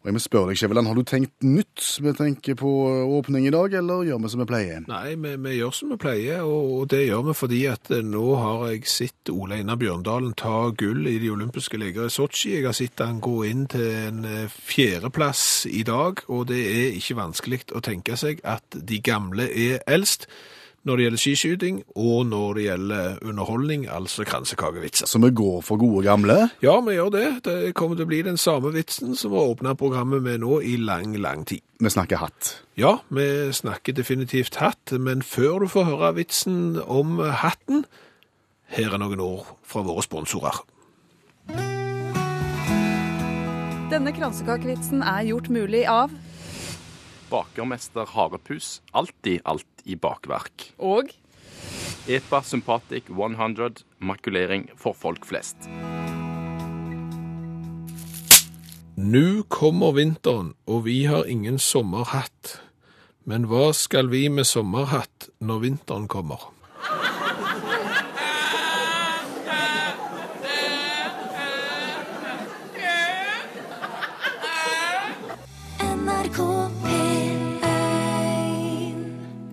Og jeg må spørre deg, Skjæveland, har du tenkt nytt med tanke på åpning i dag, eller gjør vi som vi pleier? Nei, vi, vi gjør som vi pleier, og, og det gjør vi fordi at eh, nå har jeg sett Ole Einar Bjørndalen ta gull i de olympiske leker i Sotsji. Jeg har sett han gå inn til en eh, fjerdeplass i dag, og det er ikke vanskelig å tenke seg at de gamle er eldst når det gjelder skiskyting, og når det gjelder underholdning, altså kransekakevitser. Så vi går for gode gamle? Ja, vi gjør det. Det kommer til å bli den samme vitsen som vi har åpnet programmet med nå i lang, lang tid. Vi snakker hatt. Ja, vi snakker definitivt hatt, men før du får høre vitsen om hatten, her er noen ord fra våre sponsorer. Denne kransekakevitsen er gjort mulig av Bakermester Harepus, alltid alt i bakverk. og EPA Sympatic 100, makulering for folk flest. Nu kommer vinteren, og vi har ingen sommerhatt. Men hva skal vi med sommerhatt når vinteren kommer? NRK P1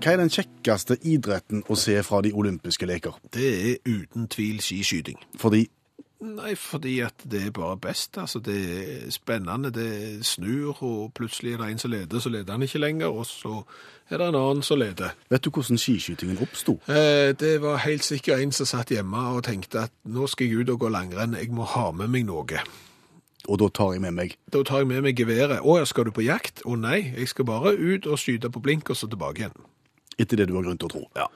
Hva er den kjekkeste idretten å se fra de olympiske leker? Det er uten tvil skiskyting. Fordi Nei, fordi at det er bare best. Altså, det er spennende, det snur, og plutselig er det en som leder, så leder han ikke lenger, og så er det en annen som leder. Vet du hvordan skiskytingen oppsto? Eh, Det var helt sikkert en som satt hjemme og tenkte at nå skal jeg ut og gå langrenn, jeg må ha med meg noe. Og da tar jeg med meg Da tar jeg med meg geværet. Å ja, skal du på jakt? Å nei, jeg skal bare ut og skyte på blink og så tilbake igjen. etter det du har grunn til å tro. Ja.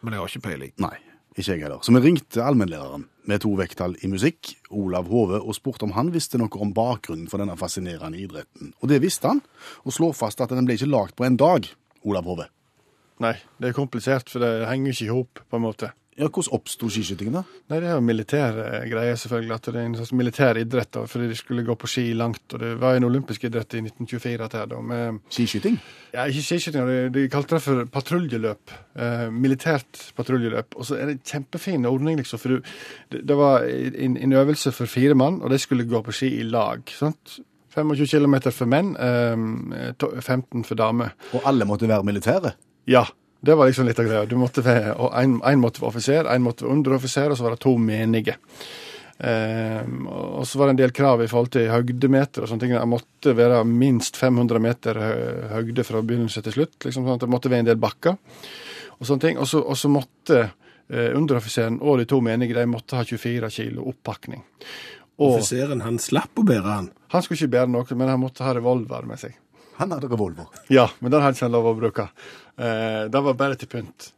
Men jeg har ikke peiling. Nei, ikke jeg heller. Så vi ringte allmennlæreren med to vekttall i musikk, Olav Hove, og spurte om han visste noe om bakgrunnen for denne fascinerende idretten. Og det visste han, og slår fast at den ble ikke lagd på en dag, Olav Hove. Nei, det er komplisert, for det henger jo ikke i hop, på en måte. Ja, Hvordan oppsto skiskytingen, da? Nei, det er jo militære greier, selvfølgelig. At det er en slags militær idrett, da, fordi de skulle gå på ski langt. Og det var en olympisk idrett i 1924, dette her, da. Med, Skiskyting? ja, ikke skiskyting, de, de kalte det for patruljeløp. Eh, militært patruljeløp. Og så er det en kjempefin ordning, liksom. For du, det, det var en, en øvelse for fire mann, og de skulle gå på ski i lag. sant? 25 km for menn, eh, to- 15 for damer. Og alle måtte være militære? Ja, det var liksom litt av greia. Du måtte være, og en, en måtte være offiser, en måtte være underoffiser, og så var det to menige. Ehm, og så var det en del krav i forhold til høydemeter og sånne ting. Jeg måtte være minst 500 meter hø- høyde fra begynnelse til slutt. liksom sånn at Det måtte være en del bakker og sånne ting. Og så, og så måtte eh, underoffiseren og de to menige de måtte ha 24 kilo oppakning. Og Offiseren, han slapp å bære han. han skulle ikke bære noe, men han måtte ha revolver med seg. Han hadde revolver. Ja, men den hadde ikke han lov å bruke. Eh, den var bare til pynt.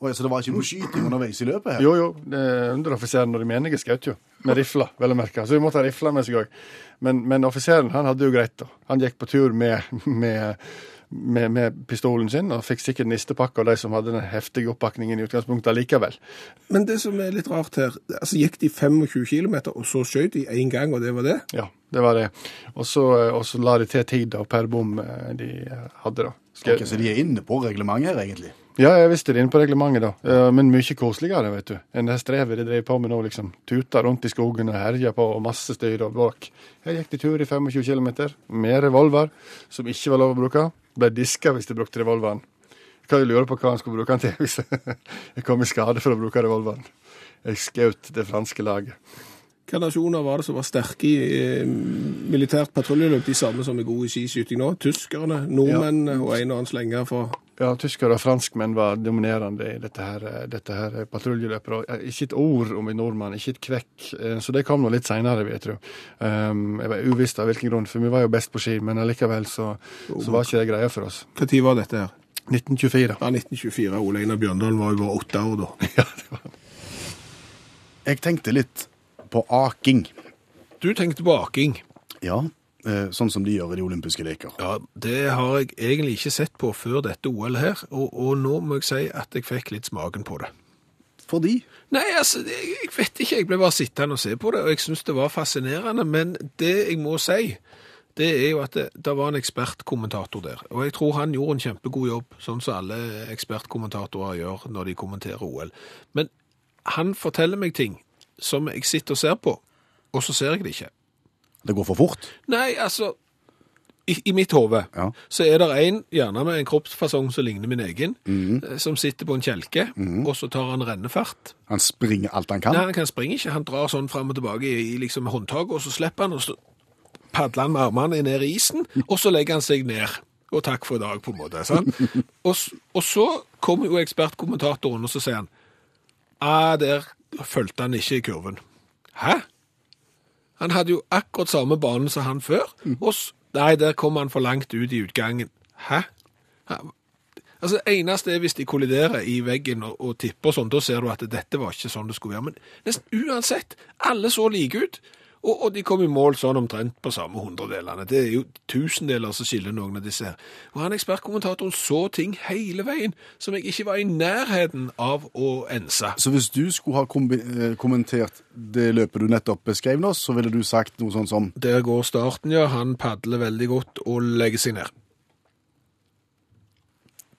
Oi, så det var ikke noe skyting underveis i løpet? her? Jo, jo. det er Underoffiseren og de menige skjøt jo. Med rifla, vel å merke. Så vi måtte ha rifla med seg òg. Men, men offiseren han hadde jo greit, da. Han gikk på tur med, med, med, med pistolen sin og fikk sikkert nistepakka av de som hadde den heftige oppakningen i utgangspunktet allikevel. Men det som er litt rart her, altså gikk de 25 km, og så skjøt de én gang, og det var det? Ja, det var det. Og så, og så la de til tida per bom eh, de hadde, da. Skjøt- Ok, så de er inne på reglementet her, egentlig? Ja, jeg visste det inne på reglementet, da. Eh, Men mye koseligere, vet du. Enn det strevet de drev på med nå, liksom. Tuta rundt i skogen og herja på, og masse styr og bråk. Her gikk de tur i 25 km med revolver, som ikke var lov å bruke. Ble diska hvis de brukte revolveren. Jeg kan jo lure på hva han skulle bruke den til hvis jeg kom i skade for å bruke revolveren. Jeg skjøt det franske laget. Hvilke nasjoner var det som var sterke i eh, militært patruljeløp, de samme som er gode i skiskyting nå? Tyskerne, nordmennene og en og annen slenger fra Ja, tyskere og franskmenn var dominerende i dette her, dette her patruljeløpet. og, eh, Ikke et ord om en nordmann, ikke et kvekk. Eh, Så det kom nå litt seinere, vil jeg tro. Um, jeg var uvisst av hvilken grunn, for vi var jo best på ski, men allikevel så, så var ikke det greia for oss. Hva tid var dette her? 1924. Ja, 1924. Ole Einar Bjørndalen var jo bare åtte år da. Jeg tenkte litt på aking. Du tenkte på aking. Ja, eh, sånn som de gjør i de olympiske leker. Ja, det har jeg egentlig ikke sett på før dette OL her, og, og nå må jeg si at jeg fikk litt smaken på det. Fordi Nei, altså, det- jeg vet ikke. Jeg ble bare sittende og se på det, og jeg syns det var fascinerende. Men det jeg må si, det er jo at det, det var en ekspertkommentator der. Og jeg tror han gjorde en kjempegod jobb, sånn som alle ekspertkommentatorer gjør når de kommenterer OL. Men han forteller meg ting som jeg sitter og ser på, og så ser jeg det ikke. det går for fort. Nei, altså I, i mitt hode Ja. så er det en, gjerne med en kroppsfasong som ligner min egen, eh, som sitter på en kjelke, og så tar han rennefart. Han springer alt han kan. Nei, han kan springe ikke. Han drar sånn fram og tilbake i, i liksom håndtaket, og så slipper han, og så padler han med armene ned i isen, og så legger han seg ned. Og takk for i dag, på en måte. Sant? Og, s- og så kommer jo ekspertkommentatoren, og så sier han Ah, der fulgte han ikke i kurven. Hæ? Han hadde jo akkurat samme bane som han før. Og s- nei, der kom han for langt ut i utgangen. Hæ? Hæ? Altså, det eneste er hvis de kolliderer i veggen og, og tipper og sånn, da ser du at dette var ikke sånn det skulle være. Men nesten uansett, alle så like ut. Og, og de kom i mål sånn omtrent på samme hundredelene. Det er jo tusendeler som skiller noen av disse her. Og han ekspertkommentatoren så ting hele veien som jeg ikke var i nærheten av å ense. Så hvis du skulle ha kombi- eh, kommentert det løpet du nettopp beskrev nå, så ville du sagt noe sånn som Der går starten, ja. Han padler veldig godt og legger seg ned.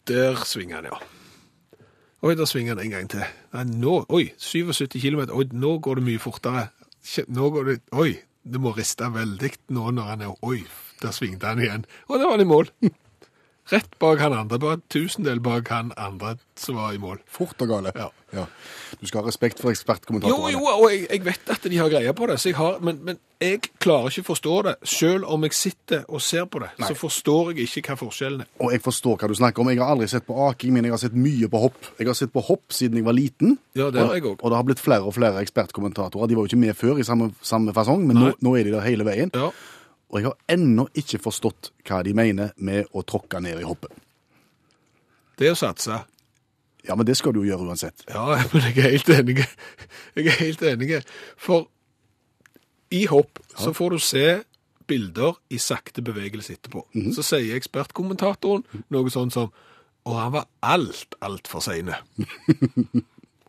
Der svinger han, ja. Oi, der svinger han en gang til. Nei, nå, oi, 77 km. Oi, nå går det mye fortere. Kje- Nå går det Oi, det må riste veldig nå når han er Oi, der svingte han igjen. Og der var han i mål. Rett bak han andre, bare en tusendel bak han andre som var i mål. fort og gale. Ja. Du skal ha respekt for Jo, ekspertkommentatorene. jo, og jeg, jeg vet at de har greie på det, så jeg har, men, men jeg klarer ikke å forstå det. Selv om jeg sitter og ser på det, så forstår jeg ikke hva forskjellen er. Og jeg forstår hva du snakker om. Jeg har aldri sett på aking, men jeg har sett mye på hopp. Jeg har sett på hopp siden jeg var liten. Ja, det har Og- jeg også. Og det har blitt flere og flere ekspertkommentatorer. De var jo ikke med før i samme, samme fasong, men nå, nå er de der hele veien. Ja. Og jeg har ennå ikke forstått hva de mener med å tråkke ned i hoppet. Det å satse. Ja, men det skal du jo gjøre uansett. Ja, men jeg er helt enig. Jeg er helt enig. For i hopp så får du se bilder i sakte bevegelse etterpå. Så sier ekspertkommentatoren noe sånn som Og han var alt, altfor seine.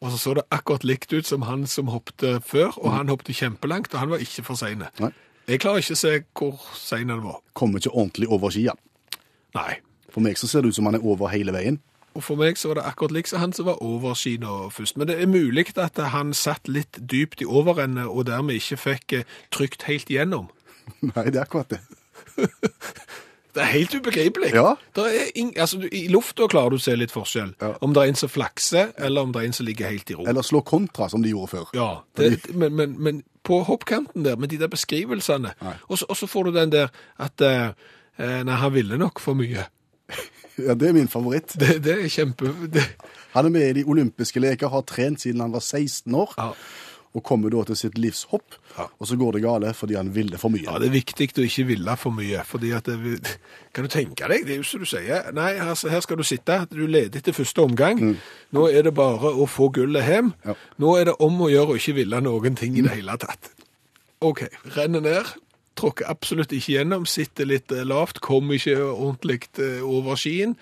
og så så det akkurat likt ut som han som hoppte før, og han hoppte kjempelangt, og han var ikke for seine. Nei. Jeg klarer ikke å se hvor sein han var. Kommer ikke ordentlig over skia. Nei. For meg så ser det ut som han er over hele veien. Og for meg så var det akkurat liksom han som var over Kina først. Men det er mulig at han satt litt dypt i overrennet og dermed ikke fikk eh, trykt helt gjennom. Nei, det er akkurat det. Det er helt ubegripelig. Ja. Der Er ing- altså, du- I lufta klarer du å se litt forskjell. Ja. Om det er en som flakser, eller om det er en som ligger helt i ro. Eller slå kontra, som de gjorde før. Ja, det, men, men, men på hoppkanten der, med de der beskrivelsene, og så, og så får du den der at eh, eh, Nei, han ville nok for mye. Ja, det er min favoritt. Det, det er kjempe... Det, Han er med i de olympiske leker, har trent siden han var 16 år, Ja. og kommer da til sitt livs hopp, og så går det gale fordi han ville for mye. Ja, det er viktig å ikke ville for mye, fordi at det, Kan du tenke deg, det er jo som du sier. Nei, altså, her skal du sitte, du leder etter første omgang. Nå er det bare å få gullet hjem. Mm. Ja. Nå er det om å gjøre å ikke ville noen ting i det hele tatt. OK, renner ned. Tråkker absolutt ikke gjennom, sitter litt eh, lavt, kommer ikke ordentlig eh, over skien,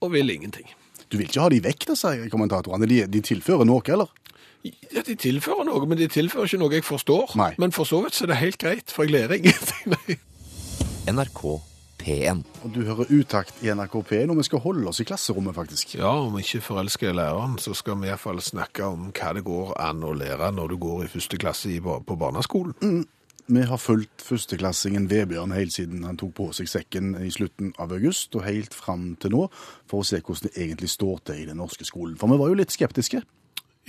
og vil ingenting. Du vil ikke ha de vekk, da, sier kommentatorene. De, de tilfører noe, eller? Ja, De tilfører noe, men de tilfører ikke noe jeg forstår. Nei. Men for så vidt så er det helt greit, for jeg lærer ingenting. Nei. NRK P1. Og du hører utakt i NRK P1, og vi skal holde oss i klasserommet, faktisk. Ja, om ikke forelsker læreren, så skal vi iallfall snakke om hva det går an å lære når du går i første klasse i, bar- på barneskolen. Mm. Vi har fulgt førsteklassingen Vebjørn helt siden han tok på seg sekken i slutten av august, og helt fram til nå, for å se hvordan det egentlig står til i den norske skolen. For vi var jo litt skeptiske.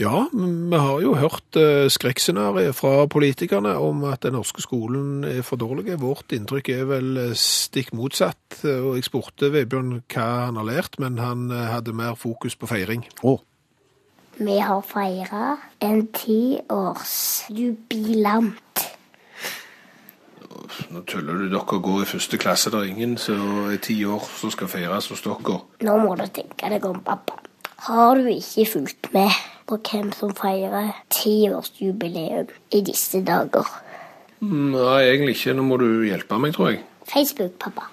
Ja, men vi har jo hørt eh, skrekkscenarioet fra politikerne om at den norske skolen er for dårlig. Vårt inntrykk er vel eh, stikk motsatt. eh, Og jeg spurte Vebjørn hva han har lært, men han eh, hadde mer fokus på feiring. Å, Vi har feira en tiårsjubilant. Nå tuller du, dere går i første klasse. Det er ingen som er ti år som skal feires hos dere. Nå må du tenke deg om, pappa. Har du ikke fulgt med på hvem som feirer tiårsjubileum i disse dager? Mm, Nei, egentlig ikke. Nå må du hjelpe meg, tror jeg. Facebook, pappa.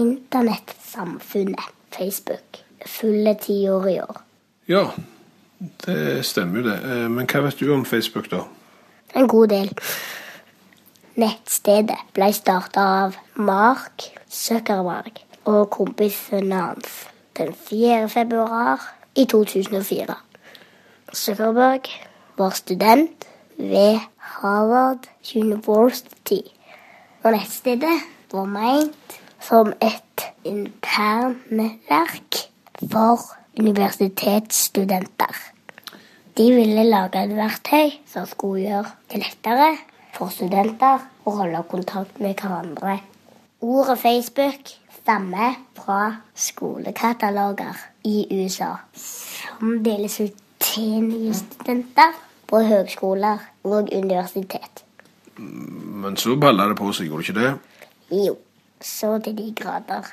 Internettsamfunnet Facebook fyller ti år i år. Ja, Det stemmer jo det. Eh, Men hva vet du om Facebook, da? En god del. Nettstedet ble starta av Mark Zuckerberg og kompisen hans den 4. februar i 2004. Zuckerberg var student ved Harvard University, og nettstedet var meint som et internverk for universitetsstudenter. De ville lage et verktøy som skulle gjøre det lettere for studenter å holde kontakt med hverandre. Ordet Facebook stammer fra skolekataloger i USA som deles ut til nye studenter på høgskoler og universitet. Men så balla det på seg, gjorde det ikke det? Jo, så til de grader.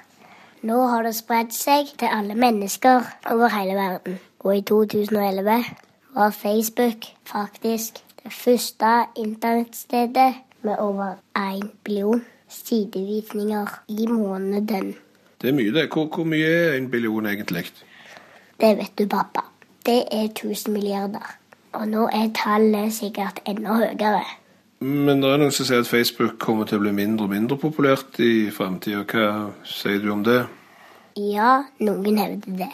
Nå har det spredt seg til alle mennesker over hele verden. Og i 2011 var Facebook faktisk det første internettstedet med over én billion sidevisninger i måneden. Det er mye, det. Hvor, hvor mye er en billion egentlig? Det vet du, pappa. Det er 1000 milliarder. Og nå er tallet sikkert enda høyere. Men det er noen som sier at Facebook kommer til å bli mindre og mindre populært i fremtiden. Hva sier du om det? Ja, noen hevder det.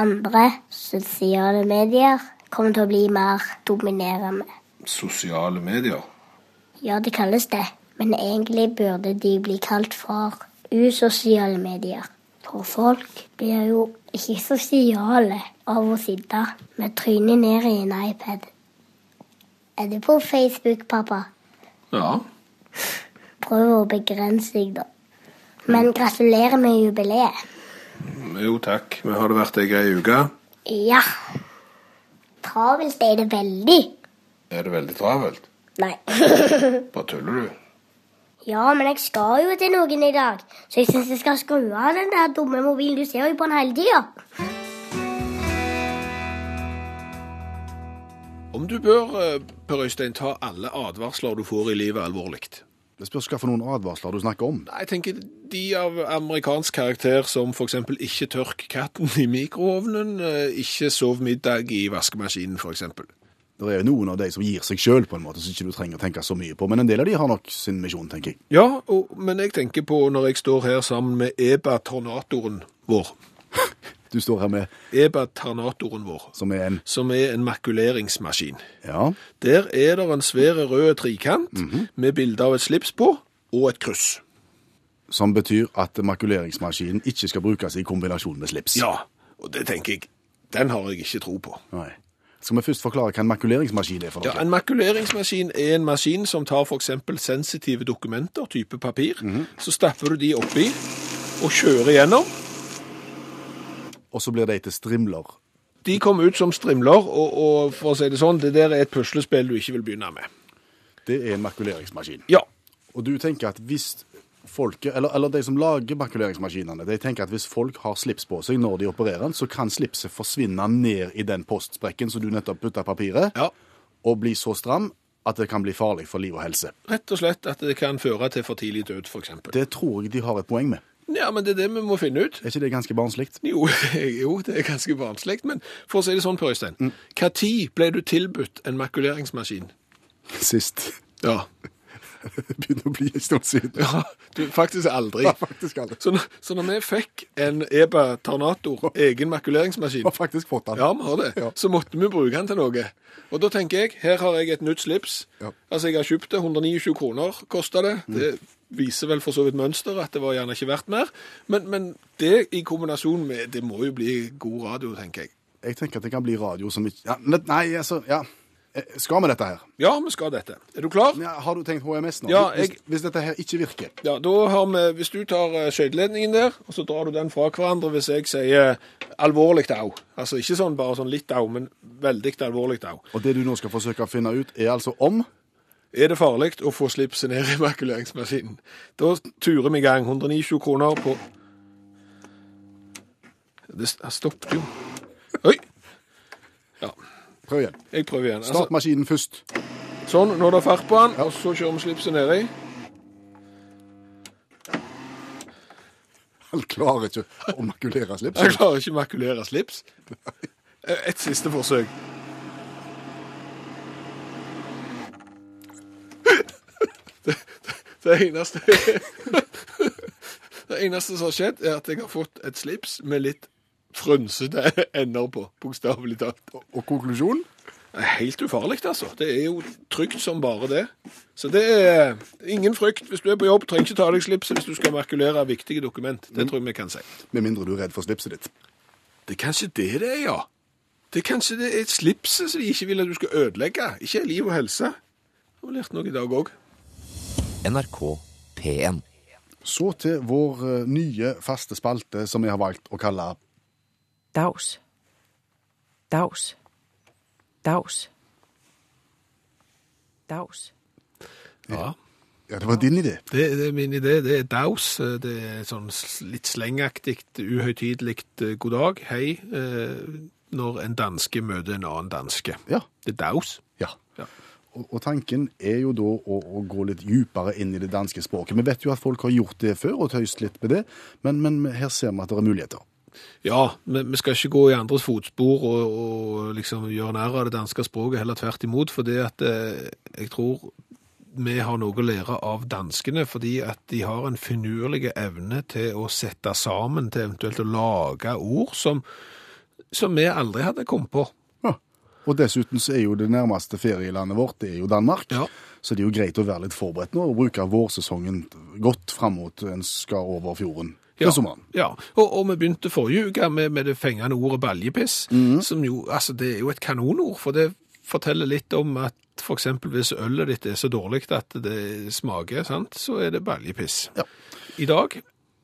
Andre sosiale medier kommer til å bli mer dominerende. Sosiale medier? Ja, det kalles det. Men egentlig burde de bli kalt for usosiale medier. For folk blir jo ikke sosiale av å sitte med trynet ned i en iPad. Er du på Facebook, pappa? Ja. Prøv å begrense deg, da. Men gratulerer med jubileet. Jo takk, vi har det vært ei grei uke. Ja. Travelt er det veldig. Er det veldig travelt? Nei. Bare tuller du? Ja, men jeg skal jo til noen i dag, så jeg syns jeg skal skru av den der dumme mobilen. Du ser jo på den hele tida. Om du bør, eh, Per Øystein, ta alle advarsler du får i livet alvorlig. Det spørs hva for noen advarsler du snakker om. Nei, Jeg tenker de av amerikansk karakter som f.eks. ikke tørk katten i mikroovnen, eh, ikke sov middag i vaskemaskinen f.eks. Det er jo noen av de som gir seg sjøl, på en måte, som ikke du trenger å tenke så mye på. Men en del av de har nok sin misjon, tenker jeg. Ja, og, men jeg tenker på når jeg står her sammen med EBA-tornatoren vår. Du står her med EBA-tornatoren vår, som er en som er en makuleringsmaskin. Ja, Der er det en svær rød trikant med bilde av et slips på og et kryss. som betyr at makuleringsmaskinen ikke skal brukes i kombinasjon med slips. Ja, og det tenker jeg, den har jeg ikke tro på. Nei. Skal vi først forklare hva en makuleringsmaskin er for Ja, noe? En makuleringsmaskin er en maskin som tar f.eks. sensitive dokumenter, type papir. Så stapper du de oppi og kjører gjennom. Og så blir de til strimler. De kommer ut som strimler, og, og for å si det sånn, det der er et puslespill du ikke vil begynne med. Det er en makuleringsmaskin. Ja, Og du tenker at hvis folket, eller, eller de som lager makuleringsmaskinene, de tenker at hvis folk har slips på seg når de opererer den, så kan slipset forsvinne ned i den postsprekken som du nettopp putta papiret, ja. og bli så stram at det kan bli farlig for liv og helse. Rett og slett at det kan føre til for tidlig død, f.eks. Det tror jeg de har et poeng med. Ja, men det er det vi må finne ut. Er ikke det ganske barnslig? Jo, jo det er ganske barnslig, men for å si det sånn, Per Øystein. Når ble du tilbudt en makuleringsmaskin? Sist. Ja. Det begynner å bli en stund siden. ja du, faktisk aldri. Ja, faktisk aldri. Så, når- så når vi fikk en EBA Tornator, egen makuleringsmaskin Jeg har faktisk fått den. Ja, vi har det. Ja. Så måtte vi bruke den til noe. Og da tenker jeg, her har jeg et nytt slips. Ja. Mm. Altså, jeg har kjøpt det. 129 kroner kosta det. Det viser vel for så vidt mønster at det var gjerne ikke verdt mer. Men, men det i kombinasjon med Det må jo bli god radio, tenker jeg. Jeg tenker at det kan bli radio som ikke ja, men- Nei, altså, ja. Eh, Skal vi dette her? Ja, vi skal dette. Er du klar? Ja, har du tenkt HMS nå? Ja, Hvis- jeg- hvis, hvis dette her ikke virker Ja, da har vi, Hvis du tar eh, skøyteledningen der, og så drar du den fra hverandre hvis jeg sier alvorlig au. Altså ikke sånn bare sånn litt au, men veldig alvorlig au. Og det du nå skal forsøke å finne ut, er altså om Er det farlig å få slipset ned i makuleringsmaskinen? Da turer vi i gang. 129 kroner på Det s- det stoppet jo. Oi! Ja, Prøv igjen. jeg prøver igjen. Altså, Start maskinen først. sånn, nå er det fart på den, og så kjører vi slipset nedi. Han klarer ikke å makulere Jeg slipset. klarer ikke å makulere slips. Eh, Et siste forsøk. Det, det, det eneste Det eneste som har skjedd, er at jeg har fått et slips med litt frynsete ender på, bokstavelig talt. Og konklusjonen? Det er Helt ufarlig, altså. Det er jo trygt som bare det. Så det er ingen frykt hvis du er på jobb. Trenger ikke ta av deg slipset hvis du skal makulere viktige dokument. Det tror jeg vi kan si. Med mindre du er redd for slipset ditt. Det er kanskje det det er, ja. Det er kanskje det er slipset som de ikke vil at du skal ødelegge. Ikke liv og helse. Jeg har lært noe i dag òg. NRK P1. Så til vår eh, nye faste spalte, som jeg har valgt å kalle Dags. Dags. Dags. Dags. Ja. Ja, det var din idé. Det, det er min idé. Det er daus. Det er sånn s- litt slengaktig, uhøytidelig eh, god dag, hei, eh, når en danske møter en annen danske. Ja. Det er daus. ja. Ja. Og, og tanken er jo da å, å gå litt dypere inn i det danske språket. Vi vet jo at folk har gjort det før og tøyst litt med det, men, men her ser vi at det er muligheter. Ja, men vi skal ikke gå i andres fotspor og, og liksom gjøre nær av det danske språket, heller tvert imot, fordi at eh, jeg tror vi har noe å lære av danskene, fordi at de har en finurlig evne til å sette sammen, til eventuelt å lage ord som, som vi aldri hadde kommet på. Ja. Og dessuten så er jo det nærmeste ferielandet vårt, det er jo Danmark. Ja. Så det er jo greit å være litt forberedt nå og bruke vårsesongen godt fram mot en skal over fjorden til sommeren. Ja, og, og vi begynte forrige uke med, med det fengende ordet baljepiss, som jo, altså det er jo et kanonord, for det forteller litt om at for eksempel hvis ølet ditt er så dårlig at det smaker, sant, så er det baljepiss. Ja. I dag,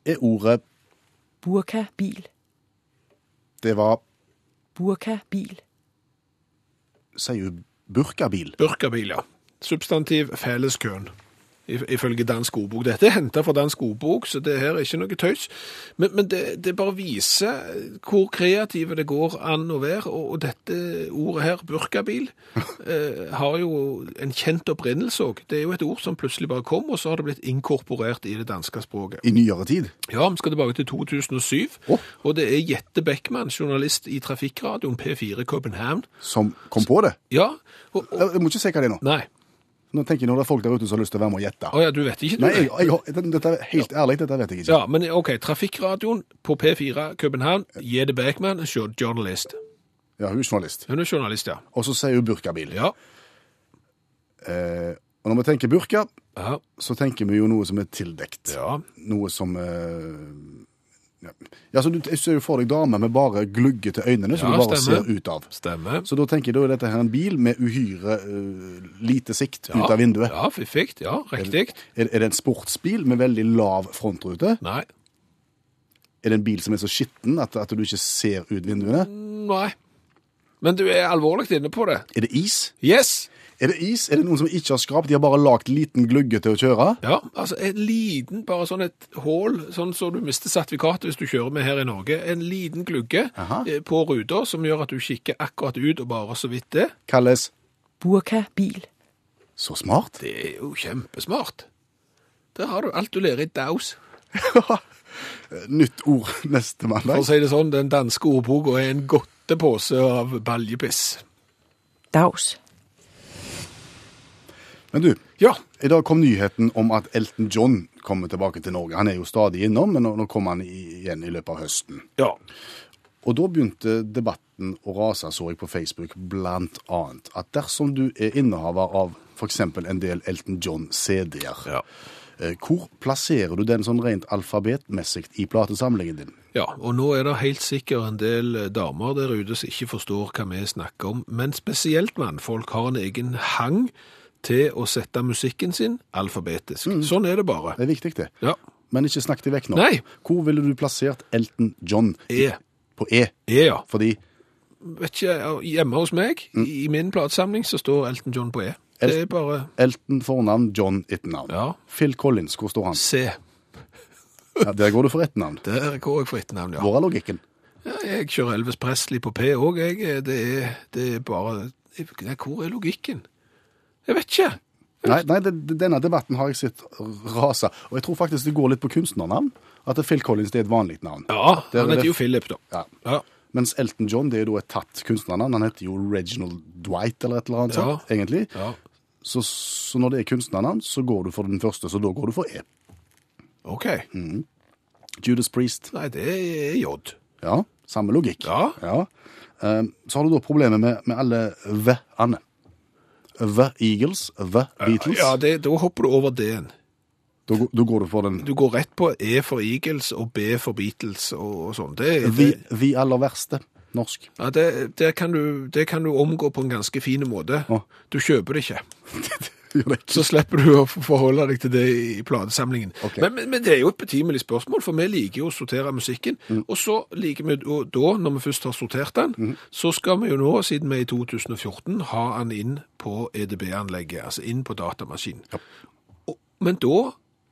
Er ordet Burka bil. Det var Burka bil. Sier hun burkabil? burkabil, ja. Substantiv felleskøen. if- Ifølge dansk ordbok. Dette er henta fra dansk ordbok, så det her er ikke noe tøys. Men, men det, det bare viser hvor kreative det går an å være. Og, og dette ordet her, burkabil, eh, har jo en kjent opprinnelse òg. Det er jo et ord som plutselig bare kom, og så har det blitt inkorporert i det danske språket. I nyere tid? Ja, vi skal tilbake til 2007, Å. og det er Jette Beckmann, journalist i Trafikkradioen P4 København. Som kom på det? Ja, og, og Jeg jeg må ikke se hva det er nå. Nei. Nå tenker jeg når det er folk der ute som har lyst til å være med og gjette. Å ja, du vet ikke du? Nei, jeg, jeg, har- dette- dette er helt ærlig, dette vet jeg ikke. Ja, men ok, Trafikkradioen på P4 København, Jede Beckman, jo- journalist. Ja, hun er journalist. Hun er journalist, ja. Og så sier hun burkabil. Ja, Eh, og når vi tenker burka, ja, så tenker vi jo noe som er tildekt. ja. noe som eh, ja. ja, så Du jeg ser jo for deg damer med bare gluggete øynene, som Ja, du bare stemmer. ser ut av. stemmer. Så da tenker jeg da er dette her en bil med uhyre eh, lite sikt Ja, ut av vinduet. Ja, fiffigt, ja, riktig. Er, er det en sportsbil med veldig lav frontrute? Nei, Er det en bil som er så skitten at, at du ikke ser ut vinduene? nei. Men du er alvorlig inne på det. Er det is? Yes! Er det is? Er det noen som ikke har skrapt? De har bare lagt liten glugge til å kjøre? Ja, altså en liten, bare sånn et hål, sånn så du mister sertifikatet hvis du kjører med her i Norge, en liten glugge Aha. eh, på ruta som gjør at du kikker akkurat ut og bare så vidt det. Kalles Burka bil. så smart. Det er jo kjempesmart. Der har du alt du lærer i daus. Nytt ord neste For å mandag. si det sånn, den danske ordboka er en godtepose av baljepiss. Dags. Men du, Ja, I dag kom nyheten om at Elton John kommer tilbake til Norge. Han er jo stadig innom, men nå, nå kommer han i- igjen i løpet av høsten. ja. Og da begynte debatten å rase, så jeg på Facebook, blant annet. At dersom du er innehaver av f.eks. en del Elton John-CD-er, Ja. eh, hvor plasserer du den sånn rent alfabetmessig i platesamlingen din? Ja, og nå er det helt sikkert en del eh, damer der ute som ikke forstår hva vi snakker om, men spesielt mannfolk har en egen hang til å sette musikken sin alfabetisk. Sånn er det bare. Det er viktig, det. Ja. Men ikke snakk deg vekk nå. Nei. Hvor ville du plassert Elton John? i- E. På E. E, ja. Fordi Vet ikke, hjemme hos meg, i min platesamling, så står Elton John på E. Det Mm. er bare Elton fornavn, John etternavn. Ja. Phil Collins, hvor står han? C. Ja, der går du for etternavn. Der går jeg for ett navn, ja. Hvor er logikken? Ja, jeg kjører Elvis Presley på P òg, jeg. Det er, det er bare Nei, hvor er logikken? Jeg vet ikke. Nei, nei det, det- denne debatten har jeg sett rase. Og jeg tror faktisk det går litt på kunstnernavn. At Phil Collins det er et vanlig navn. Ja, Der er han heter det- jo Philip, da. Ja. Ja. Mens Elton John det er da et tatt kunstnernavn. Han heter jo Reginald Dwight eller et eller annet Ja. sånt, egentlig. Ja. Så, så når det er kunstnernavn, så går du for den første, så da går du for E. OK. Mm. Judas Priest. Nei, det er J. Ja, samme logikk. Ja. Eh, Så har du da problemet med, med alle V-ene. The Eagles, The Beatles. Ja, det, da hopper du over D-en. Da, går- da går du for den Du går rett på E for Eagles og B for Beatles og, og sånn. Det, the, det, the aller verste norsk. ja, det, det, kan du, det kan du omgå på en ganske fin måte. Å. Du kjøper det ikke. Gjør det ikke? Så slipper du å forholde deg til det i platesamlingen. Ok. Men, men, men det er jo et betimelig spørsmål, for vi liker jo å sortere musikken. Mm. Og så liker vi jo da, når vi først har sortert den, så skal vi jo nå, siden vi er i 2014, ha den inn på EDB-anlegget, altså inn på datamaskinen. Og, men da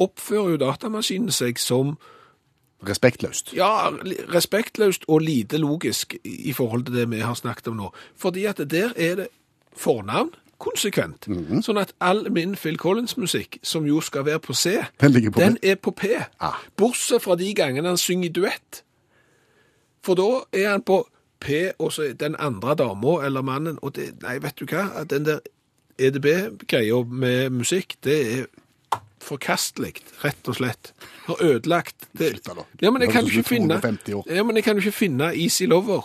oppfører jo datamaskinen seg som Respektløst. ja, li- respektløst og lite logisk i i forhold til det vi har snakket om nå. Fordi at der er det fornavn konsekvent. Mhm. Sånn at all min Phil Collins-musikk, som jo skal være på C, Den ligger på den P. er på P. Ah. Bortsett fra de gangene han synger i duett. For da er han på P, og så er den andre dama eller mannen, og det, nei, vet du hva, den der EDB-greia med musikk, det er forkastelig, rett og slett. Har ødelagt. Det, Slutt da, da. ja, men jeg Det kan jo høres ikke ut som finne 150 år. ja, men jeg kan jo ikke finne Easy Lover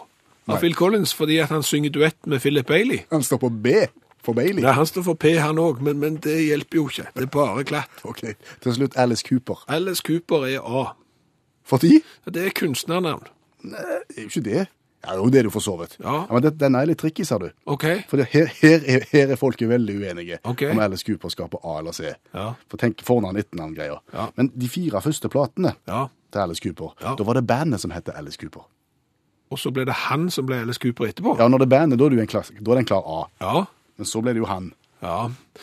av Nei. Phil Collins fordi at han synger duett med Philip Bailey. Han står på B for Bailey. Nei, han står for P han òg, men, men det hjelper jo ikke. Det er bare glatt. Ok, Til slutt Alice Cooper. Alice Cooper er A. Fordi Det er kunstnernavn. Det er jo ikke det. Ja, jo, det er det jo for så vidt. Ja. men det, den er litt tricky, sa du. OK? For det, her, her, er- her er folket veldig uenige Ok. om Alice Cooper skal på A eller C. Ja. For tenk fornavn, etternavn, greier. Ja. Men de fire første platene Ja. til Alice Cooper, Ja. da var det bandet som het Alice Cooper. Og så ble det han som ble Alice Cooper etterpå. Ja, når det er bandet, da er, du en klass, da er det en klar A. Ja. Men så ble det jo han. ja.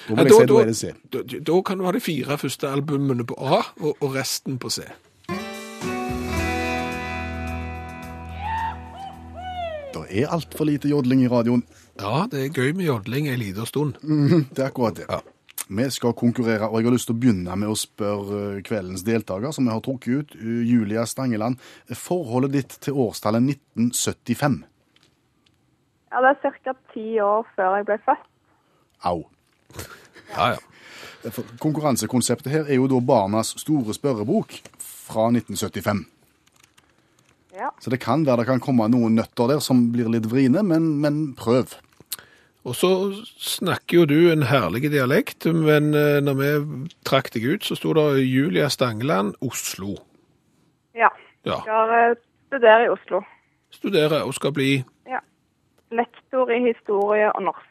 Da vil Nei, jeg si da er det C. da, da kan du ha de fire første albumene på A, og, og resten på C. Det er altfor lite jodling i radioen. Ja, det er gøy med jodling en liten stund. Mm. Det er akkurat det. Vi skal konkurrere, og jeg har lyst til å begynne med å spørre eh, kveldens deltaker, som jeg har trukket ut, eh, Julia Stangeland. Forholdet ditt til årstallet 1975. Ja, det er ca. ti år før jeg ble født. Au. Ja, ja. For Konkurransekonseptet her er jo da barnas store spørrebok fra 1975. Ja. Så det kan være det kan komme noen nøtter der som blir litt vriene, men, men prøv. Og så snakker jo du en herlig dialekt, men eh, når vi trakk deg ut, så sto det Julia Stangeland, Oslo. Ja. Ja. Jeg eh, studerer i Oslo. Studerer og skal bli Ja. Lektor i historie og norsk.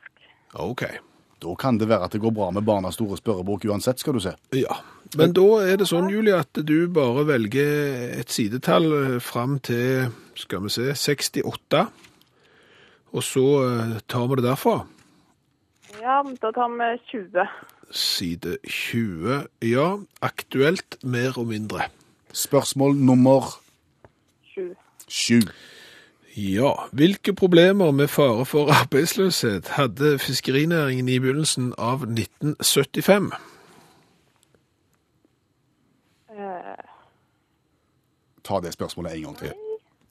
OK. Da kan det være at det går bra med barnas store spørrebok uansett, skal du se. Ja. Men da er det sånn, Julia, at du bare velger et sidetall eh, fram til skal vi se 68. Og så eh, tar vi det derfra. Ja, da tar vi 20. Side 20. Ja, aktuelt mer og mindre. Spørsmål nummer 7. sju. Ja, hvilke problemer med fare for arbeidsløshet hadde fiskerinæringen i begynnelsen av 1975? Ta det spørsmålet en gang til.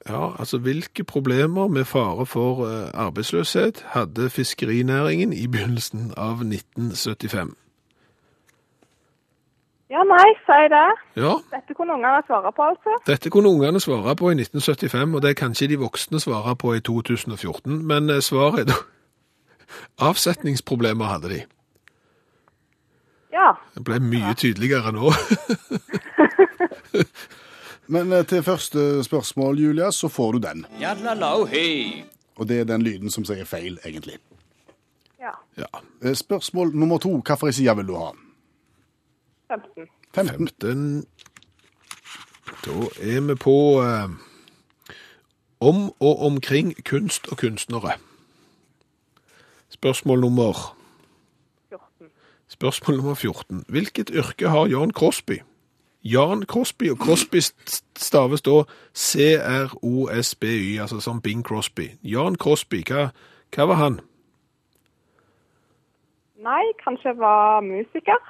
Ja, altså hvilke problemer med fare for eh, arbeidsløshet hadde fiskerinæringen i begynnelsen av 1975? Ja, nei, si det. Ja, Dette kunne ungene svare på, altså. dette kunne ungene svare på i 1975, og det kan ikke de voksne svare på i 2014, men eh, svaret er da Avsetningsproblemer hadde de. Ja. Det ble mye tydeligere nå. Men eh, til første spørsmål, Julia, så får du den. Og det er den lyden som sier feil, egentlig. ja. Ja, Eh, Spørsmål nummer to. Hvilken side vil du ha? 15. 15. Den Da er vi på eh, om og omkring kunst og kunstnere. Spørsmål nummer 14. Spørsmål nummer 14. Hvilket yrke har Jan Crosby? Jan Crosby, og Crosby st- staves da C-R-O-S-B-Y, altså som Bing Crosby. Jan Crosby, hva, hva var han? Nei, kanskje jeg var musiker?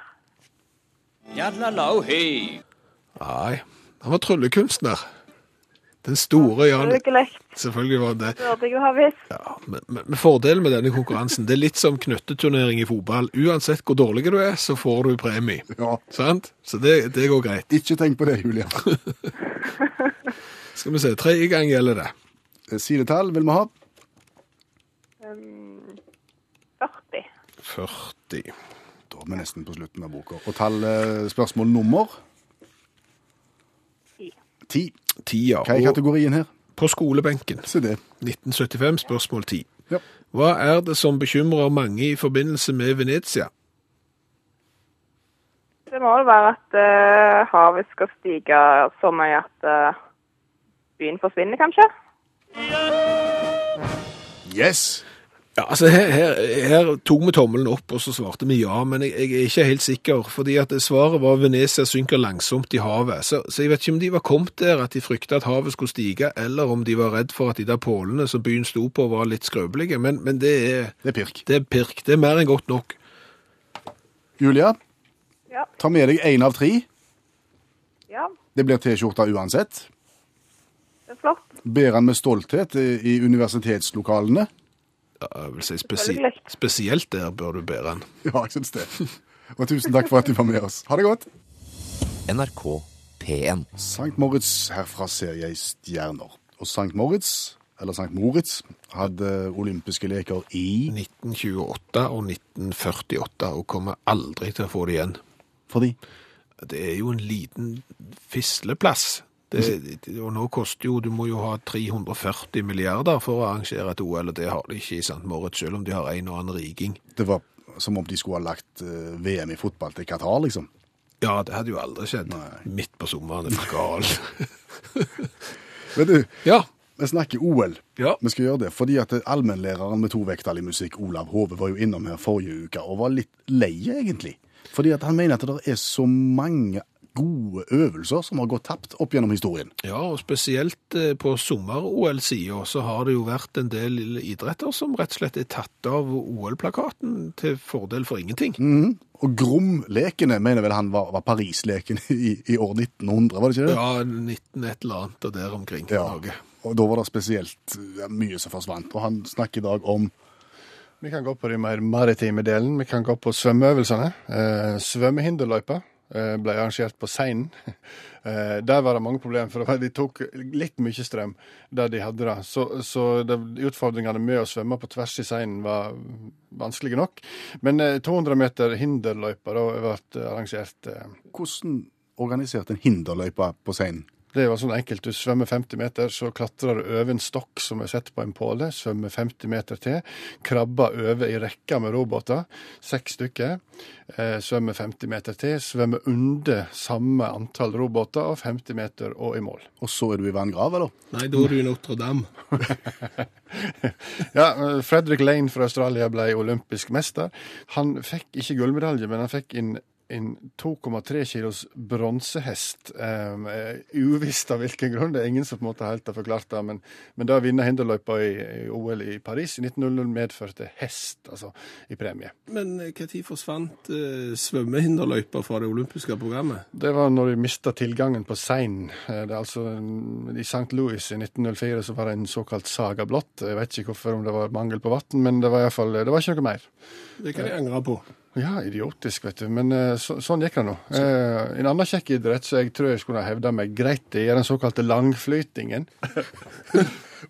Nei, han var tryllekunstner. Den store, ja. Selvfølgelig. Selvfølgelig var det. Burde jeg jo ha visst. Men, men men fordelen med denne konkurransen, det er litt som knytteturnering i fotball. Uansett hvor dårlig du er, så får du premie. Sant? Så det, det går greit. Ikke tenk på det, Julia. Skal vi se, tre gang gjelder det. Eh, Sidetall vil vi ha. Um, 40. 40. Da er vi nesten på slutten av boka. Og tall, eh, spørsmål nummer? Ti. Ti. Tia. Hva er Og kategorien her? på skolebenken. Se det. 1975, spørsmål 10. Ja. Hva er det som bekymrer mange i forbindelse med Venezia? Det må jo være at eh, havet skal stige så mye at eh, byen forsvinner, kanskje. Yes! Ja, altså her, her, her tok vi tommelen opp, og så svarte vi ja, men jeg, jeg er ikke helt sikker. fordi at svaret var Venezia synker langsomt i havet. Så, så jeg vet ikke om de var kommet der at de frykta at havet skulle stige, eller om de var redd for at de der pålene som byen sto på, var litt skrøpelige. Men, men det, er, Det er pirk. det er pirk. Det er mer enn godt nok. Julia, Ja. ta med deg én av tre. Ja, Det blir T-skjorta uansett. det er flott. Bærer den med stolthet i i universitetslokalene. Ja, jeg vil si spesi Selvfølgelig. Spesielt der bør du bære den. Ja, jeg syns det. Og tusen takk for at du var med oss. Ha det godt. NRK P1. Sankt Moritz, herfra ser jeg stjerner. Og Sankt Moritz, eller Sankt Moritz, hadde olympiske leker i 1928 og 1948, og kommer aldri til å få det igjen. Fordi? Det er jo en liten fisleplass. Det, det- og nå koster jo, du må jo ha 340 milliarder for å arrangere et OL, og det har de ikke i St. Moritz, selv om de har en og annen riking. Det var som om de skulle ha lagt eh, VM i fotball til Qatar, liksom. Ja, det hadde jo aldri skjedd. Midt på sommeren, er du gal. Vet du, ja, vi snakker OL. ja. Vi skal gjøre det fordi at allmennlæreren med to vekttall i musikk, Olav Hove, var jo innom her forrige uke og var litt lei, egentlig. Fordi at han mener at det er så mange gode øvelser som har gått tapt opp gjennom historien. Ja, og spesielt eh, på sommer-OL-sida så har det jo vært en del idretter som rett og slett er tatt av OL-plakaten til fordel for ingenting. Og Grom-lekene mener vel han var, var Paris-leken i, i år 1900, var det ikke det? Ja, 19 et eller annet og der omkring i Norge. Og da var det spesielt ja, mye som forsvant. Og han snakker i dag om Vi kan gå på de mer maritime delen. Vi kan gå på svømmeøvelsene. Eh, svømmehinderløypa eh, ble arrangert på Seinen. Eh, der var det mange problemer, for det var- de tok litt mye strøm der de hadde det. Så, så det, utfordringene med å svømme på tvers i Seinen var vanskelige nok. Men eh, 200 meter hinderløypa da ble arrangert. Eh, hvordan organiserte en hinderløype på scenen. Det var sånn enkelt. Du svømmer 50 meter, så klatrer du over en stokk som er satt på en påle. Svømmer 50 meter til. Krabber over i rekka med robåter. Seks stykker. Eh, svømmer 50 meter til. Svømmer under samme antall robåter og 50 meter og i mål. Og så er du i vanngrav, eller? Nei, da er du i Notre-Dame. Ja, eh, Fredrik Lane fra Australia ble olympisk mester. Han fikk ikke gullmedalje, men han fikk inn en 2,3 kilos bronsehest. Um, uvisst av hvilken grunn, det er ingen som på en måte helt har forklart det. Men, men det å vinne hinderløypa i, i OL i Paris i 1900 medførte hest altså, i premie. Men når forsvant eh, svømmehinderløyper fra det olympiske programmet? Det var når de mista tilgangen på seinen. Eh, Det er altså, mm, I St. Louis i 1904 så var det en såkalt saga blått. Jeg vet ikke hvorfor om det var mangel på vann, men det var, i hvert fall, det var ikke noe mer. Det kan jeg angre på. Ja, idiotisk, vet du. Men eh, så, sånn gikk det nå. Eh, en annen kjekk idrett som jeg tror jeg skulle ha hevda meg greit i, er den såkalte langflytingen.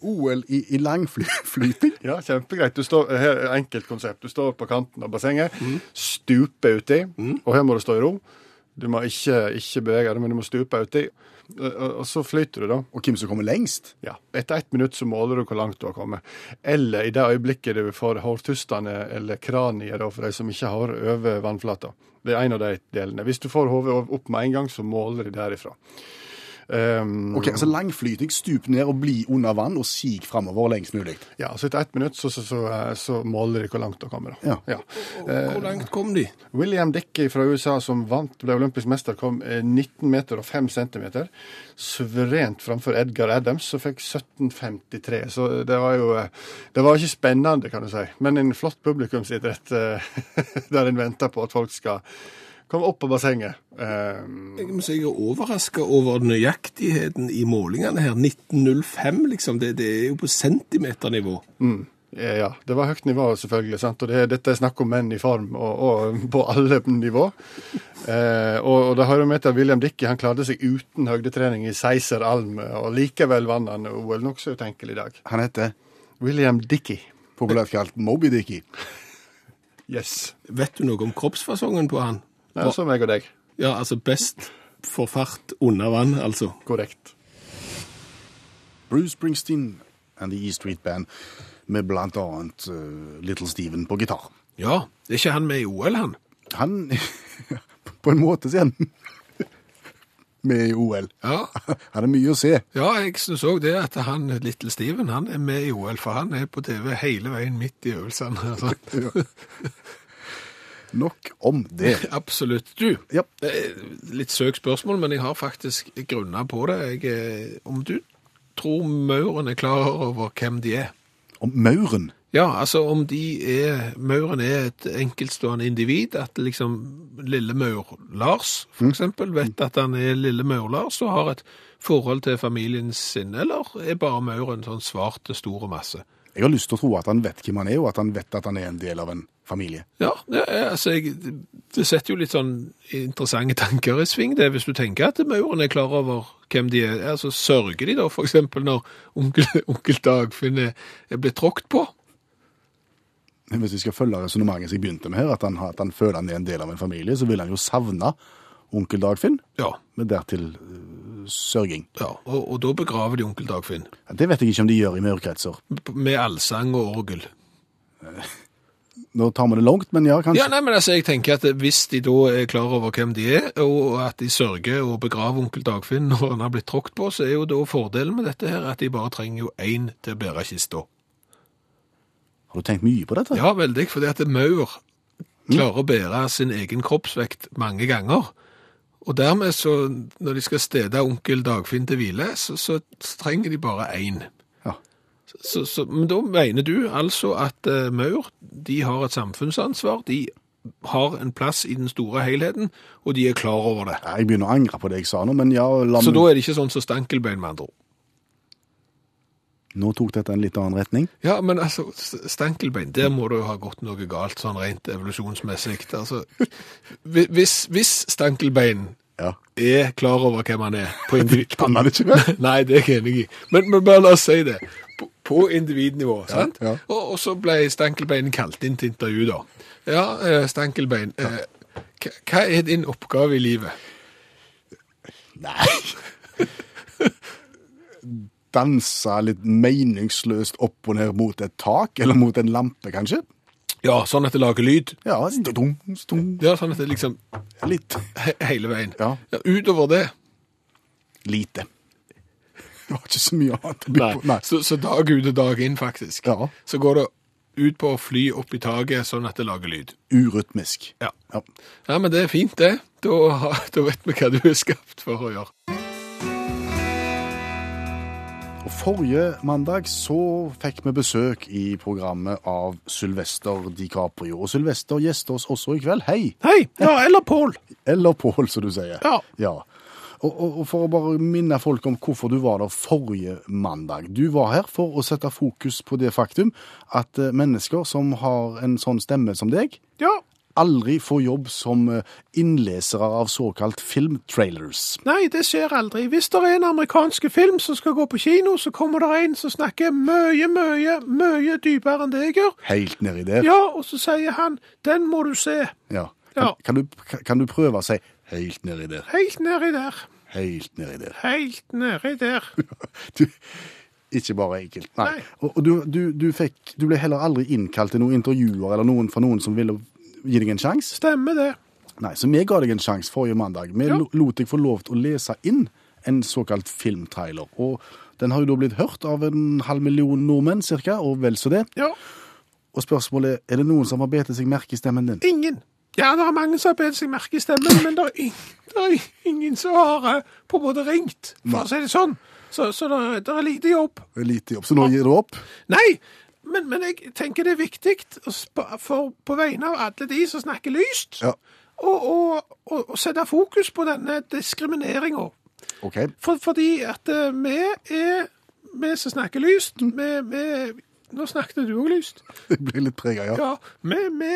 OL i, i langflyting? Ja, kjempegreit. Du står, eh, her er enkelt konsept. Du står på kanten av bassenget, stuper uti, og her må du stå i ro. Du må ikke, ikke bevege deg, men du må stupe uti. Eh, Og, og så flyter du, da. Og hvem som kommer lengst? Ja. Etter ett minutt så måler du hvor langt du har kommet. Eller i det øyeblikket du får hårtustene eller kraniet, da, for de som ikke har over vannflata. Det er en av de delene. Hvis du får hodet opp med en gang, så måler de derifra. Um, Ok, altså Langflyting, stup ned og bli under vann og sig framover lengst mulig. Ja, så Etter ett minutt så, så, så, så måler de hvor langt du har kommet. da. Ja. Hvor langt kom de? William Dickie fra USA, som vant, ble olympisk mester, kom eh, 19 meter og 5 centimeter. Suverent framfor Edgar Adams, som fikk 17,53. Så det var jo eh, Det var ikke spennende, kan du si, men en flott publikumsidrett eh, der en venter på at folk skal Kom opp på bassenget. Eh, Jeg må si jeg er overraska over nøyaktigheten i målingene her. 1905, liksom. Det, det er jo på centimeternivå. mm. Eh, Ja, det var høyt nivå, selvfølgelig. sant? Og det, dette er snakk om menn i form, og, og på alle nivå. Eh, og, og det hører med til at William Dickie han klarte seg uten høydetrening i Seiser Alm, og likevel vant han OL. Nokså utenkelig i dag. Han heter Eh. William Dickie. Populært kalt Moby Dickie. Yes. Vet du noe om kroppsfasongen på han? Det er som meg og deg. Ja, altså best for fart under vann, altså. Korrekt. Bruce Springsteen and The E Street Band med blant annet eh, Little Steven på gitar. Ja, det er ikke han med i OL, han. Han På en måte, sier han. Med i OL. Ja, Han er mye å se. ja jeg synes òg det at han Little Steven han er med i OL, for han er på TV hele veien midt i øvelsene. Altså. Nok om det. Absolutt. Du, Ja. det er litt søkt spørsmål, men jeg har faktisk grunna på det. Jeg, eh, om du tror mauren er klar over hvem de er? Om mauren. Ja, altså om de er Mauren er et enkeltstående individ, at liksom lille Maur Lars for eksempel vet at han er lille Maur Lars og har et forhold til familien sin, eller er bare Mauren sånn svart til store masse? Jeg har lyst til å tro at han vet hvem han er, og at han vet at han er en del av en familie. Ja, det, er, altså, jeg, det setter jo litt sånn interessante tanker i sving, det, hvis du tenker at Mauren er klar over hvem de er. Altså, sørger de da for eksempel når onkel, onkel Dagfinn er, er blitt tråkt på? Hvis vi skal følge resonnementet som jeg begynte med her, at han, har- at han føler han er en del av en familie, så vil han jo savne onkel Dagfinn, Ja, med dertil eh, sørging. ja og, og da begraver de onkel Dagfinn. Det vet jeg ikke om de gjør i maurkretser. Med allsang og orgel. Nå tar vi det langt, men ja, kanskje. Ja, nei, men altså, jeg tenker at Hvis de da er klar over hvem de er, og at de sørger og begraver onkel Dagfinn når han har blitt tråkt på, så er jo da fordelen med dette her at de bare trenger jo én til å bære kista. Har du tenkt mye på dette? Ja, veldig, fordi at maur klarer å bære sin egen kroppsvekt mange ganger. Og dermed, så når de skal stede onkel Dagfinn til hvile, så, så trenger de bare én. Ja. Så, så, men da mener du altså at eh, maur de har et samfunnsansvar, de har en plass i den store helheten, og de er klar over det. Ja, Jeg begynner å angre på det jeg sa nå, men ja, la Så meg... da er det ikke sånn som stankelbein, med andre ord. Nå tok dette en litt annen retning. Ja, men altså, s- stankelbein, der må det jo ha gått noe galt, sånn rent evolusjonsmessig. Altså, hvi- hvis, hvis stankelbein Ja. er klar over hvem han er på individ... Kan man ikke det? Nei, det er jeg enig i. Men, men bare la oss si det. På, på individnivå, sant? ja. Og, og så ble Stankelbein kalt inn til intervju, da. Ja, eh, Stankelbein, eh, hva- hva er din oppgave i livet? Nei. Dansa litt meningsløst opp og ned mot et tak, eller mot en lampe, kanskje? Ja, sånn at det lager lyd. Ja, stung, stung, Ja, sånn at det liksom litt. he hele veien. Ja. ja. Utover det. Lite. Det var ikke så mye annet å by på. Nei. Så, så dag ut og dag inn, faktisk. Ja. Så går det ut på å fly opp i taket sånn at det lager lyd. Urytmisk. Ja. Ja. Ja, men det er fint, det. Da, har- da vet vi hva du er skapt for å gjøre. Og forrige mandag så fikk vi besøk i programmet av Sylvester DiCaprio. Og Sylvester gjester oss også i kveld. Hei! Hei! Ja, eller Pål. Eller Pål, som du sier. Ja. Og, og, og for å bare minne folk om hvorfor du var der forrige mandag. Du var her for å sette fokus på det faktum at eh, mennesker som har en sånn stemme som deg, Ja, aldri får jobb som eh, innlesere av såkalt filmtrailers. Nei, det skjer aldri. Hvis det er en amerikansk film som skal gå på kino, så kommer det en som snakker mye, mye, mye dypere enn det jeg gjør. Helt nedi der. Ja, og så sier han 'den må du se', Ja. Ja. Kan, kan, du, kan du prøve å si 'helt nedi der', helt nedi der, 'helt nedi der'? helt nedi der. Du, ikke bare enkelt. Nei. Nei. Og, og du, du, du, fikk, du ble heller aldri innkalt til noen intervjuer eller noen fra noen som ville gi deg en sjanse. Stemmer det. Nei, så vi ga deg en sjanse forrige mandag. Vi Ja. lo- lot deg få lov til å lese inn en såkalt filmtrailer. Og den har jo da blitt hørt av en halv million nordmenn, cirka, og vel så det. Ja, Og spørsmålet er, er det noen som har betet seg merke i stemmen din? ingen. Ja, det er mange som har bedt seg merke i stemmen, men det er, ing, det er ingen som har eh, på en måte ringt, for å si det sånn. Så, så det, er- det er lite jobb. Lite jobb, så nå gir du opp. Nei, men, men jeg tenker det er viktig å sp- for, på vegne av alle de som snakker lyst, Ja. og, og, å, å sette fokus på denne diskrimineringa. OK. For, fordi at eh, vi er vi som snakker lyst. Vi, vi, nå snakket du òg lyst. Jeg blir litt prega, ja. Ja, vi, vi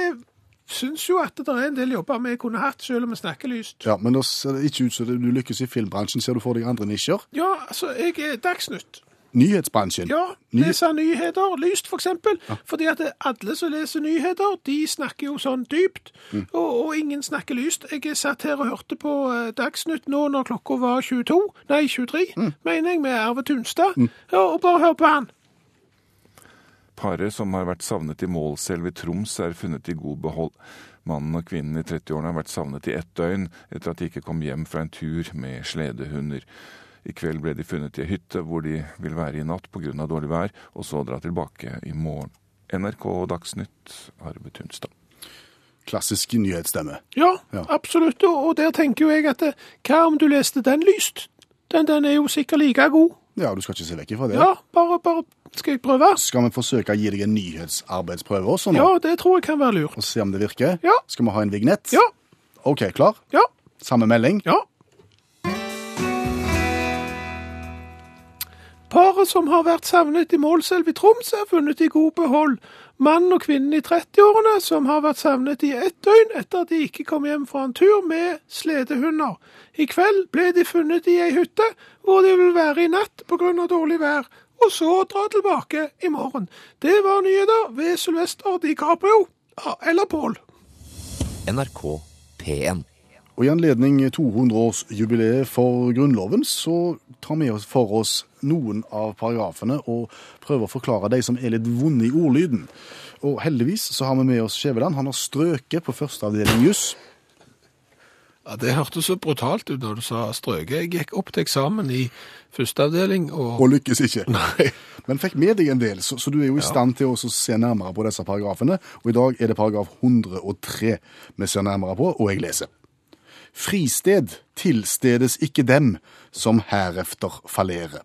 syns jo at det er en del jobber vi kunne hatt, selv om vi snakker lyst. ja. Men da ser det ikke ut som du lykkes i filmbransjen. Ser du for deg andre nisjer? Ja, altså, jeg er Dagsnytt. Nyhetsbransjen. Ja, Ny- leser nyheter, lyst for eksempel. Fordi at alle som leser nyheter, de snakker jo sånn dypt, Mm. og, og ingen snakker lyst. Jeg satt her og hørte på eh, Dagsnytt nå når klokka var 22, nei 23, Mm. mener jeg, med Arve Tunstad. Ja, og bare hør på han. Paret som har vært savnet i Målselv i Troms, er funnet i god behold. Mannen og kvinnen i 30-årene har vært savnet i ett døgn etter at de ikke kom hjem fra en tur med sledehunder. I kveld ble de funnet i ei hytte hvor de vil være i natt pga. dårlig vær, og så dra tilbake i morgen. NRK Dagsnytt, Arve Tunstad. Klassisk nyhetsstemme. Ja, Ja. absolutt. Og, og der tenker jo jeg at eh, hva om du leste den lyst? Den, den er jo sikkert like god. Ja, du skal ikke se vekk ifra det. Ja, bare, bare skal jeg prøve? Skal vi forsøke å gi deg en nyhetsarbeidsprøve også nå? Ja, det tror jeg kan være lurt. Og se om det virker? Ja. Skal vi ha en vignett? Ja. OK, klar? Ja. Samme melding? Ja. Paret som har vært savnet i Målselv i Troms, er funnet i god behold. Mannen og kvinnen i 30-årene som har vært savnet i ett døgn etter at de ikke kom hjem fra en tur med sledehunder. I kveld ble de funnet i ei hytte hvor de vil være i natt pga. dårlig vær, og så dra tilbake i morgen. Det var nyheter ved Sylvester DiCaprio, ah, eller Pål. NRK P1. Og i anledning 200-årsjubileet for Grunnloven, så tar vi oss for oss noen av paragrafene og prøver å forklare de som er litt vonde i ordlyden. Og heldigvis så har vi med oss Skjæveland. Han har strøket på første avdeling juss. Ja, Det hørtes så brutalt ut når du sa strøket. Jeg gikk opp til eksamen i første avdeling, og, Og lykkes ikke. Men fikk med deg en del, så, så du er jo i stand til å også se nærmere på disse paragrafene. Og i dag er det paragraf 103 vi ser nærmere på, og jeg leser. Fristed tilstedes ikke dem som herefter fallerer.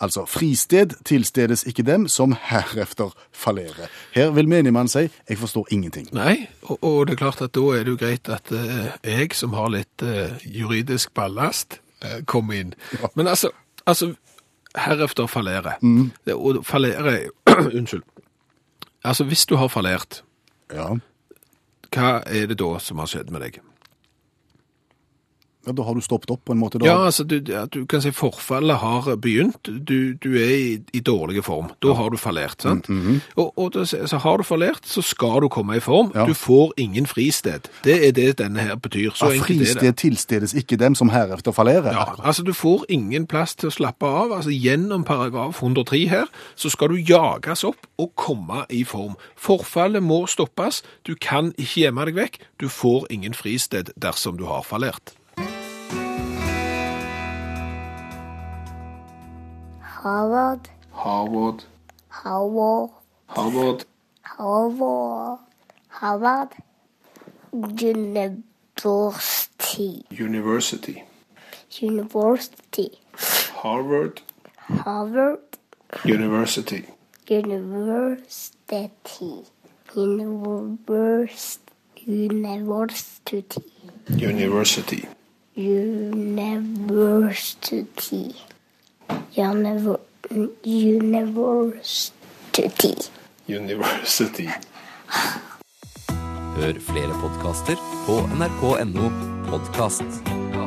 Altså, fristed tilstedes ikke dem som herefter fallerer. Her vil menigmann si, jeg forstår ingenting. Nei, og, og det er klart at da er det jo greit at eh, jeg, som har litt eh, juridisk ballast, eh, kommer inn. Men altså, altså herefter fallere. Mm. Det, og fallere er jo Unnskyld. Altså, hvis du har fallert, Ja, hva er det da som har skjedd med deg? ja da har du stoppet opp på en måte da. Ja, altså, du, ja, du kan si forfallet har begynt. Du, du er i, i dårlig form. Da har du fallert, sant? Mm, mhm. Og, og da, så så har du fallert, så skal du komme i form. Ja. Du får ingen fristed. Det er det denne her betyr. Så Ja, enkelt er fristed det. tilstedes ikke dem som herefter fallerer. Ja, altså Du får ingen plass til å slappe av. altså Gjennom paragraf 103 her så skal du jages opp og komme i form. Forfallet må stoppes. Du kan ikke gjemme deg vekk. Du får ingen fristed dersom du har fallert. Harvard, Harvard. Harvard, Harvard. Harvard, Harvard. University, University. University, Harvard Harvard University. University, Univers, University, University. University, Univer- University. University. Hør flere podkaster på nrk.no podkast.